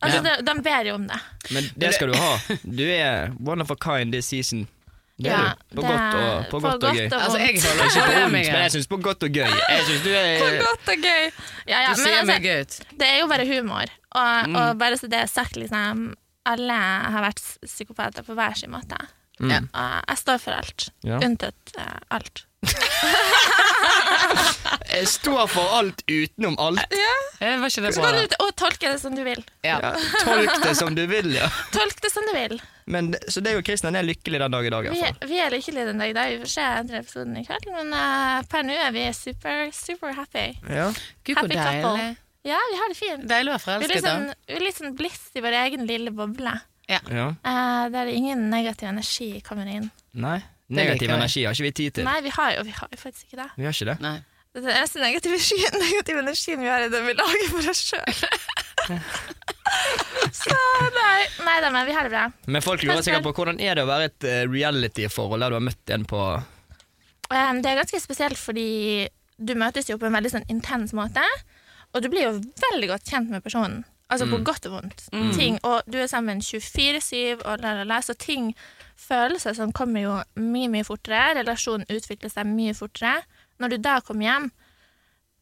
F: Altså, de, de ber jo om det.
C: men det skal du ha. Du er one of a kind this season. Det er
F: Ja,
C: du. På godt og,
F: det-
C: på godt og gøy.
B: Altså, jeg
F: vondt.
B: holder
C: Ikke
B: ikke
C: på
B: på
C: vondt,
B: meg.
C: men jeg syns på godt og gøy. Jeg synes du
F: På
C: er
F: godt og gøy. Ja, ja,
B: Du
F: men
B: ser
F: altså,
B: meg ut.
F: Det er jo bare humor, og,
C: Mm.
F: og bare så det er sagt, liksom Alle har vært s- psykopater på hver sin måte.
B: Ja.
F: Og jeg står for alt.
C: Mm. Ja.
F: Unntatt eh, alt.
C: Jeg står for alt utenom alt.
B: Eh, Var ikke det
F: Så
B: bra?
F: kan
B: da?
F: du og tolke det som du vil.
B: Ja.
C: Ja, tolk det som du vil, ja.
F: Tolk det som du vil.
C: Men, så deg og Kristian er lykkelig den dag i dag, i
F: Vi,
C: hvert fall.
F: vi er lykkelige den dag i dag. Vi får se andre episoden i kveld, men eh, per nå er vi super, super happy.
C: Ja.
B: Gud, hvor
F: Happy couple.
B: deilig.
F: Ja, vi har det fint.
B: Deilig å være
F: Vi er
B: forelsket.
F: litt sånn,
B: da.
F: vi er litt sånn bliss i vår egen lille boble.
C: ja.
F: Eh, der ingen negativ energi kommer inn.
C: Nei.
B: liker
C: Negativ
B: jeg.
C: energi har ikke vi tid til.
F: Nei, vi har jo, vi har jo faktisk ikke det.
C: Vi har ikke det.
B: Nei.
F: Den eneste negative, sky- negative energien vi har, er den vi lager for oss sjøl. Så nei, nei da, men vi har det bra.
C: Men folk lurer
F: Kanskje
C: sikkert
F: vel.
C: på hvordan er det å være i et eh, reality-forhold der du har møtt en på
F: Ehm, det er ganske spesielt fordi du møtes jo på en veldig sånn intens måte, og du blir jo veldig godt kjent med personen. Altså
C: Mm.
F: på godt og vondt. Ting, og du er sammen 24-7, og la, la, la, så ting, følelser som kommer jo mye, mye fortere. Relasjonen utvikler seg mye fortere. Når du da kommer hjem,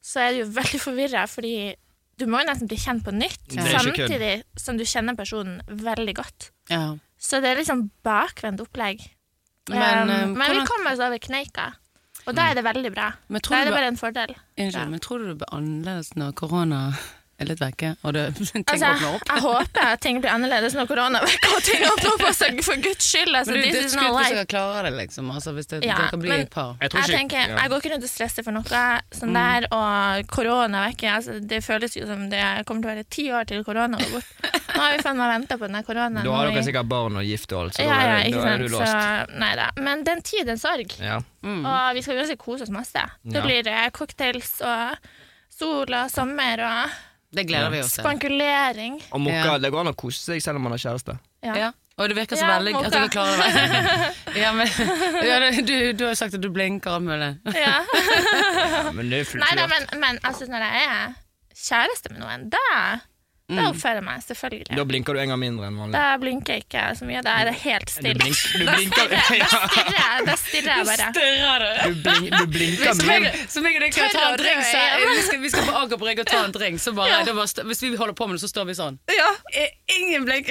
F: så er du jo veldig forvirra, fordi du må jo nesten bli kjent på nytt,
C: Det er ikke kødd.
F: samtidig som du kjenner personen veldig godt.
B: Ja.
F: Så det er liksom bakvendt opplegg.
B: Men,
F: Men,
B: eh,
F: men vi
B: hvordan- Mm.
F: kommer oss over kneika, og da er det veldig bra.
B: Men tror
F: Da
B: du
F: er det
B: ba-
F: bare en fordel.
B: Unnskyld,
F: Ja.
B: men tror du det blir annerledes når korona er litt vekke, og det, ting
F: Altså,
B: åpner opp?
F: jeg håper at ting blir annerledes når korona vekker og ting åpner opp for seg, for guds skyld. Altså,
B: Men det er jo
F: this is not
B: dødskult hvis
F: life.
B: dere klarer det, liksom. Altså, hvis det,
F: Ja,
B: dere blir
F: men-
B: et par. Mm.
C: Jeg
F: Jeg tenker, jeg går ikke rundt og stresser for noe sånn der, og korona vekker altså, Det føles jo som det kommer til å være ti år til korona går bort. Nå har vi faen meg venta på den der koronaen.
C: Da har
F: og vi-
C: dere sikkert barn og gift og alt, så
F: ja,
C: da,
F: ja,
C: er,
F: ikke
C: da er du
F: sant.
C: låst.
F: Så, nei da. Men den tid, den sorg.
C: Ja.
F: Og vi skal uansett kose oss masse. Det
C: Ja.
F: blir eh, cocktails og sol og sommer og
B: Det gleder vi oss til.
F: spankulering.
C: Og mokka,
B: Ja.
C: det går an å kose seg selv om man har kjæreste.
B: Ja. Og det virker så
F: Ja,
B: veldig
F: Moka.
B: at dere klarer det. ja, men, ja, det- du, du har jo sagt at du blinker og alt mulig.
F: Ja.
C: Ja, men det er fullt
F: Nei da,
C: lov.
F: men, men altså, når jeg er kjæreste med noen, da, da oppfører jeg meg selvfølgelig.
C: Da blinker du en gang mindre enn vanlig.
F: Da blinker jeg ikke så mye. Da er det helt
C: Du,
F: stille.
C: blink, du blinker
F: Da
C: ja.
F: stirrer jeg, da stirrer jeg bare.
B: Stirrer du?
C: du, blink, du blinker
B: Som
C: mindre.
B: jeg, som jeg og deg skal ta en
F: Tørr og
B: drink, så,
F: rød,
B: vi, skal, vi skal på Aker Brygge og ta en drink. Så bare, da bare, st- hvis vi holder på med det, så står vi sånn.
F: Ja.
B: Ingen blink.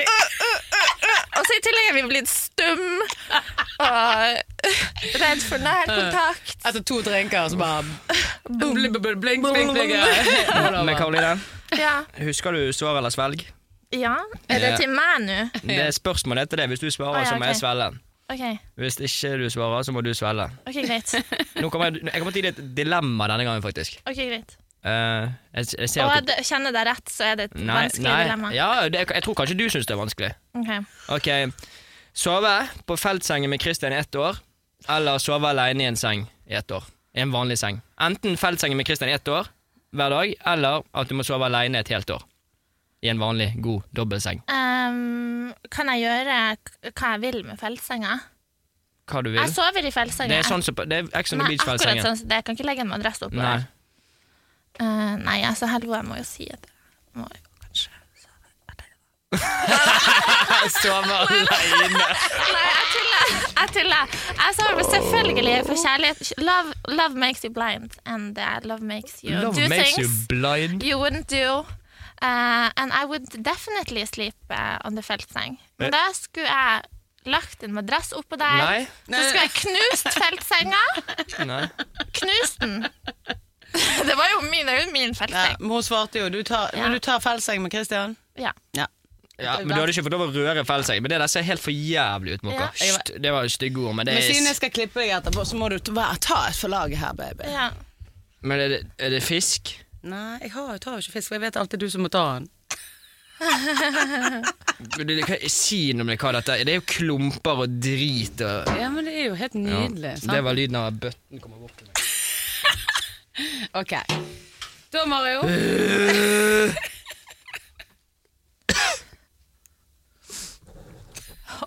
F: Og så i tillegg er vi blitt stum og redd for nærkontakt.
B: Etter to drinker, så bare blink, blink, blink. blink, blink. Ja.
C: Men Karoline,
F: Ja.
C: husker du svar eller svelg?
F: ja. Er det
C: Ja.
F: til meg nå?
C: Det er spørsmålet til det. Hvis du svarer,
F: Å, ja,
C: så må jeg
F: ok.
C: svelle.
F: OK,
C: Hvis ikke du svarer, så må du svelle.
F: ok, greit.
C: Nå kommer jeg, jeg kommer til et dilemma denne gangen, faktisk.
F: Ok, greit.
C: Eh, jeg, jeg ser
F: Og
C: at
F: jeg d- kjenner deg rett, så er det et
C: Nei,
F: vanskelig
C: nei.
F: dilemma.
C: Ja, det, jeg tror kanskje du syns det er vanskelig.
F: Ok.
C: Ok, Sove på feltsengen med Christian i ett år, eller sove alene i en seng i ett år. I en vanlig seng. Enten feltsengen med Christian i ett år hver dag, eller at du må sove alene et helt år. I en vanlig, god dobbeltseng.
F: Ehm, kan jeg gjøre k- hva jeg vil med feltsenga?
C: Hva du
F: Jeg
C: vil.
F: sover i feltsenga.
C: Det er sånn som Det er Ex on the
F: Nei, akkurat
C: Beach-feltsengen.
F: sånn som det. Jeg kan ikke legge en madrass oppå
C: Nei.
F: der. Eh, nei, altså, helvete, jeg må jo si at jeg må jo kanskje
C: Sove alene.
F: Nei, jeg tuller! Jeg tuller. Jeg sover selvfølgelig for kjærlighet. Love, love makes you blind, and uh, love makes you
C: Love
F: do
C: makes you
F: things
C: blind.
F: you wouldn't do. Eh, and I would definitely sleep uh, on the feltseng. Men da skulle jeg lagt en madrass oppå der.
C: Nei.
F: Så skulle jeg knust feltsenga.
C: Nei.
F: Knust den! Det var jo min, det er jo min feltseng.
B: Men hun svarte jo. Du tar,
F: Ja.
B: du tar feltseng med Christian.
F: Ja.
B: Ja.
C: Ja, men Du hadde ikke fått lov å røre feltsengen. Men det der ser helt for jævlig ut, Mokka.
F: Ja.
C: St- Det var stygge ord, men det
B: Men siden
C: er
B: jeg skal klippe deg etterpå, så må du ta, ta et for laget her, baby.
F: ja.
C: Men er det, er det fisk?
B: Nei, jeg har, jeg tar jo ikke fisk, for jeg vet alltid du som må ta den.
C: Du- du kan- Si noe om det, hva dette er. Det er jo klumper og drit og
B: Ja, men det er jo helt nydelig.
C: Det
B: sant?
C: var lyden av at bøtten kommer bort. til meg.
B: Ok. Da, Mario.
C: Øh.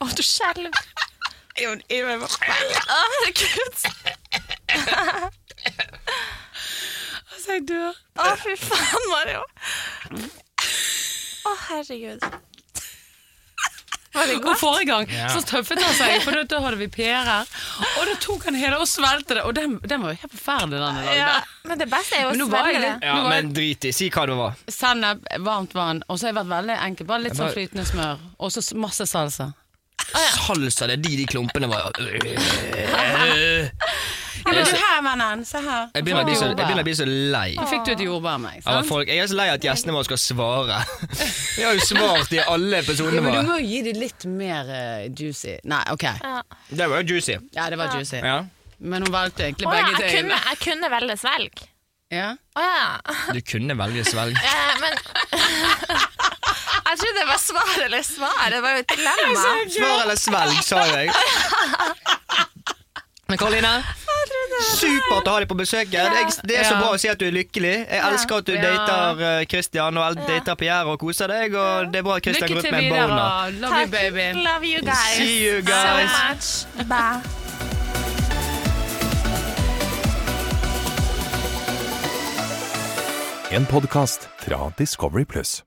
F: Å, du skjelver. Å, herregud.
B: Altså, jeg dør.
F: Å, fy faen, Mario. Å, herregud. Var det
B: Og
F: godt?
B: forrige gang så tøffet han seg, for da- da hadde vi pærer. Og da tok han hele og svelgte det, og den, den var jo helt forferdelig. den jeg lagde.
F: Ja, men det beste er jo
B: Men
F: å
B: nå var jeg
F: svelge det.
B: litt-
C: Ja,
B: Nå var-
C: men drit i. Si hva det var.
B: Sennep, varmt vann, og så har jeg vært veldig enkel. Bare litt
C: Jeg bare-
B: sånn flytende smør, og så s- masse salsa. Ah,
C: Salsa, det er de de klumpene var. Øh,
B: Ja, men du her, vennen. Se her.
C: Jeg begynner å bli så, jeg
B: Jordbær.
C: begynner å bli så lei.
B: Nå fikk du et jordbær av meg.
C: av at
B: Sant?
C: folk, jeg er så lei at gjestene våre skal svare. Vi har jo svart i alle
B: Ja, men
C: episodene
B: du
C: våre.
B: må jo gi dem litt mer eh, juicy. Nei, ok.
C: Det var jo juicy.
B: Ja, det var juicy.
C: Ja.
B: Men hun valgte egentlig
F: Å ja,
B: begge
F: jeg kunne,
B: tingene.
F: jeg kunne velge svelg.
B: Ja.
F: Å ja.
C: Du kunne velge svelg.
F: Eh, men Jeg trodde det var svar eller svar. Det var jo et dilemma.
C: Svar eller svelg, sa jeg. Men Karoline, supert å ha deg på besøk. her. Det er, det er så
B: Ja.
C: bra å se at du er lykkelig. Jeg elsker at du
B: Ja.
C: dater eh, Christian og el- dater Pierre og koser deg. Og det er bra at Christian
B: Lykke
C: går ut
B: til
C: med en
B: videre.
C: boner.
B: og Love
F: er
B: you, baby.
F: Love you guys.
C: See you guys.
F: So much. Bye.
A: En podkast fra Discovery Pluss.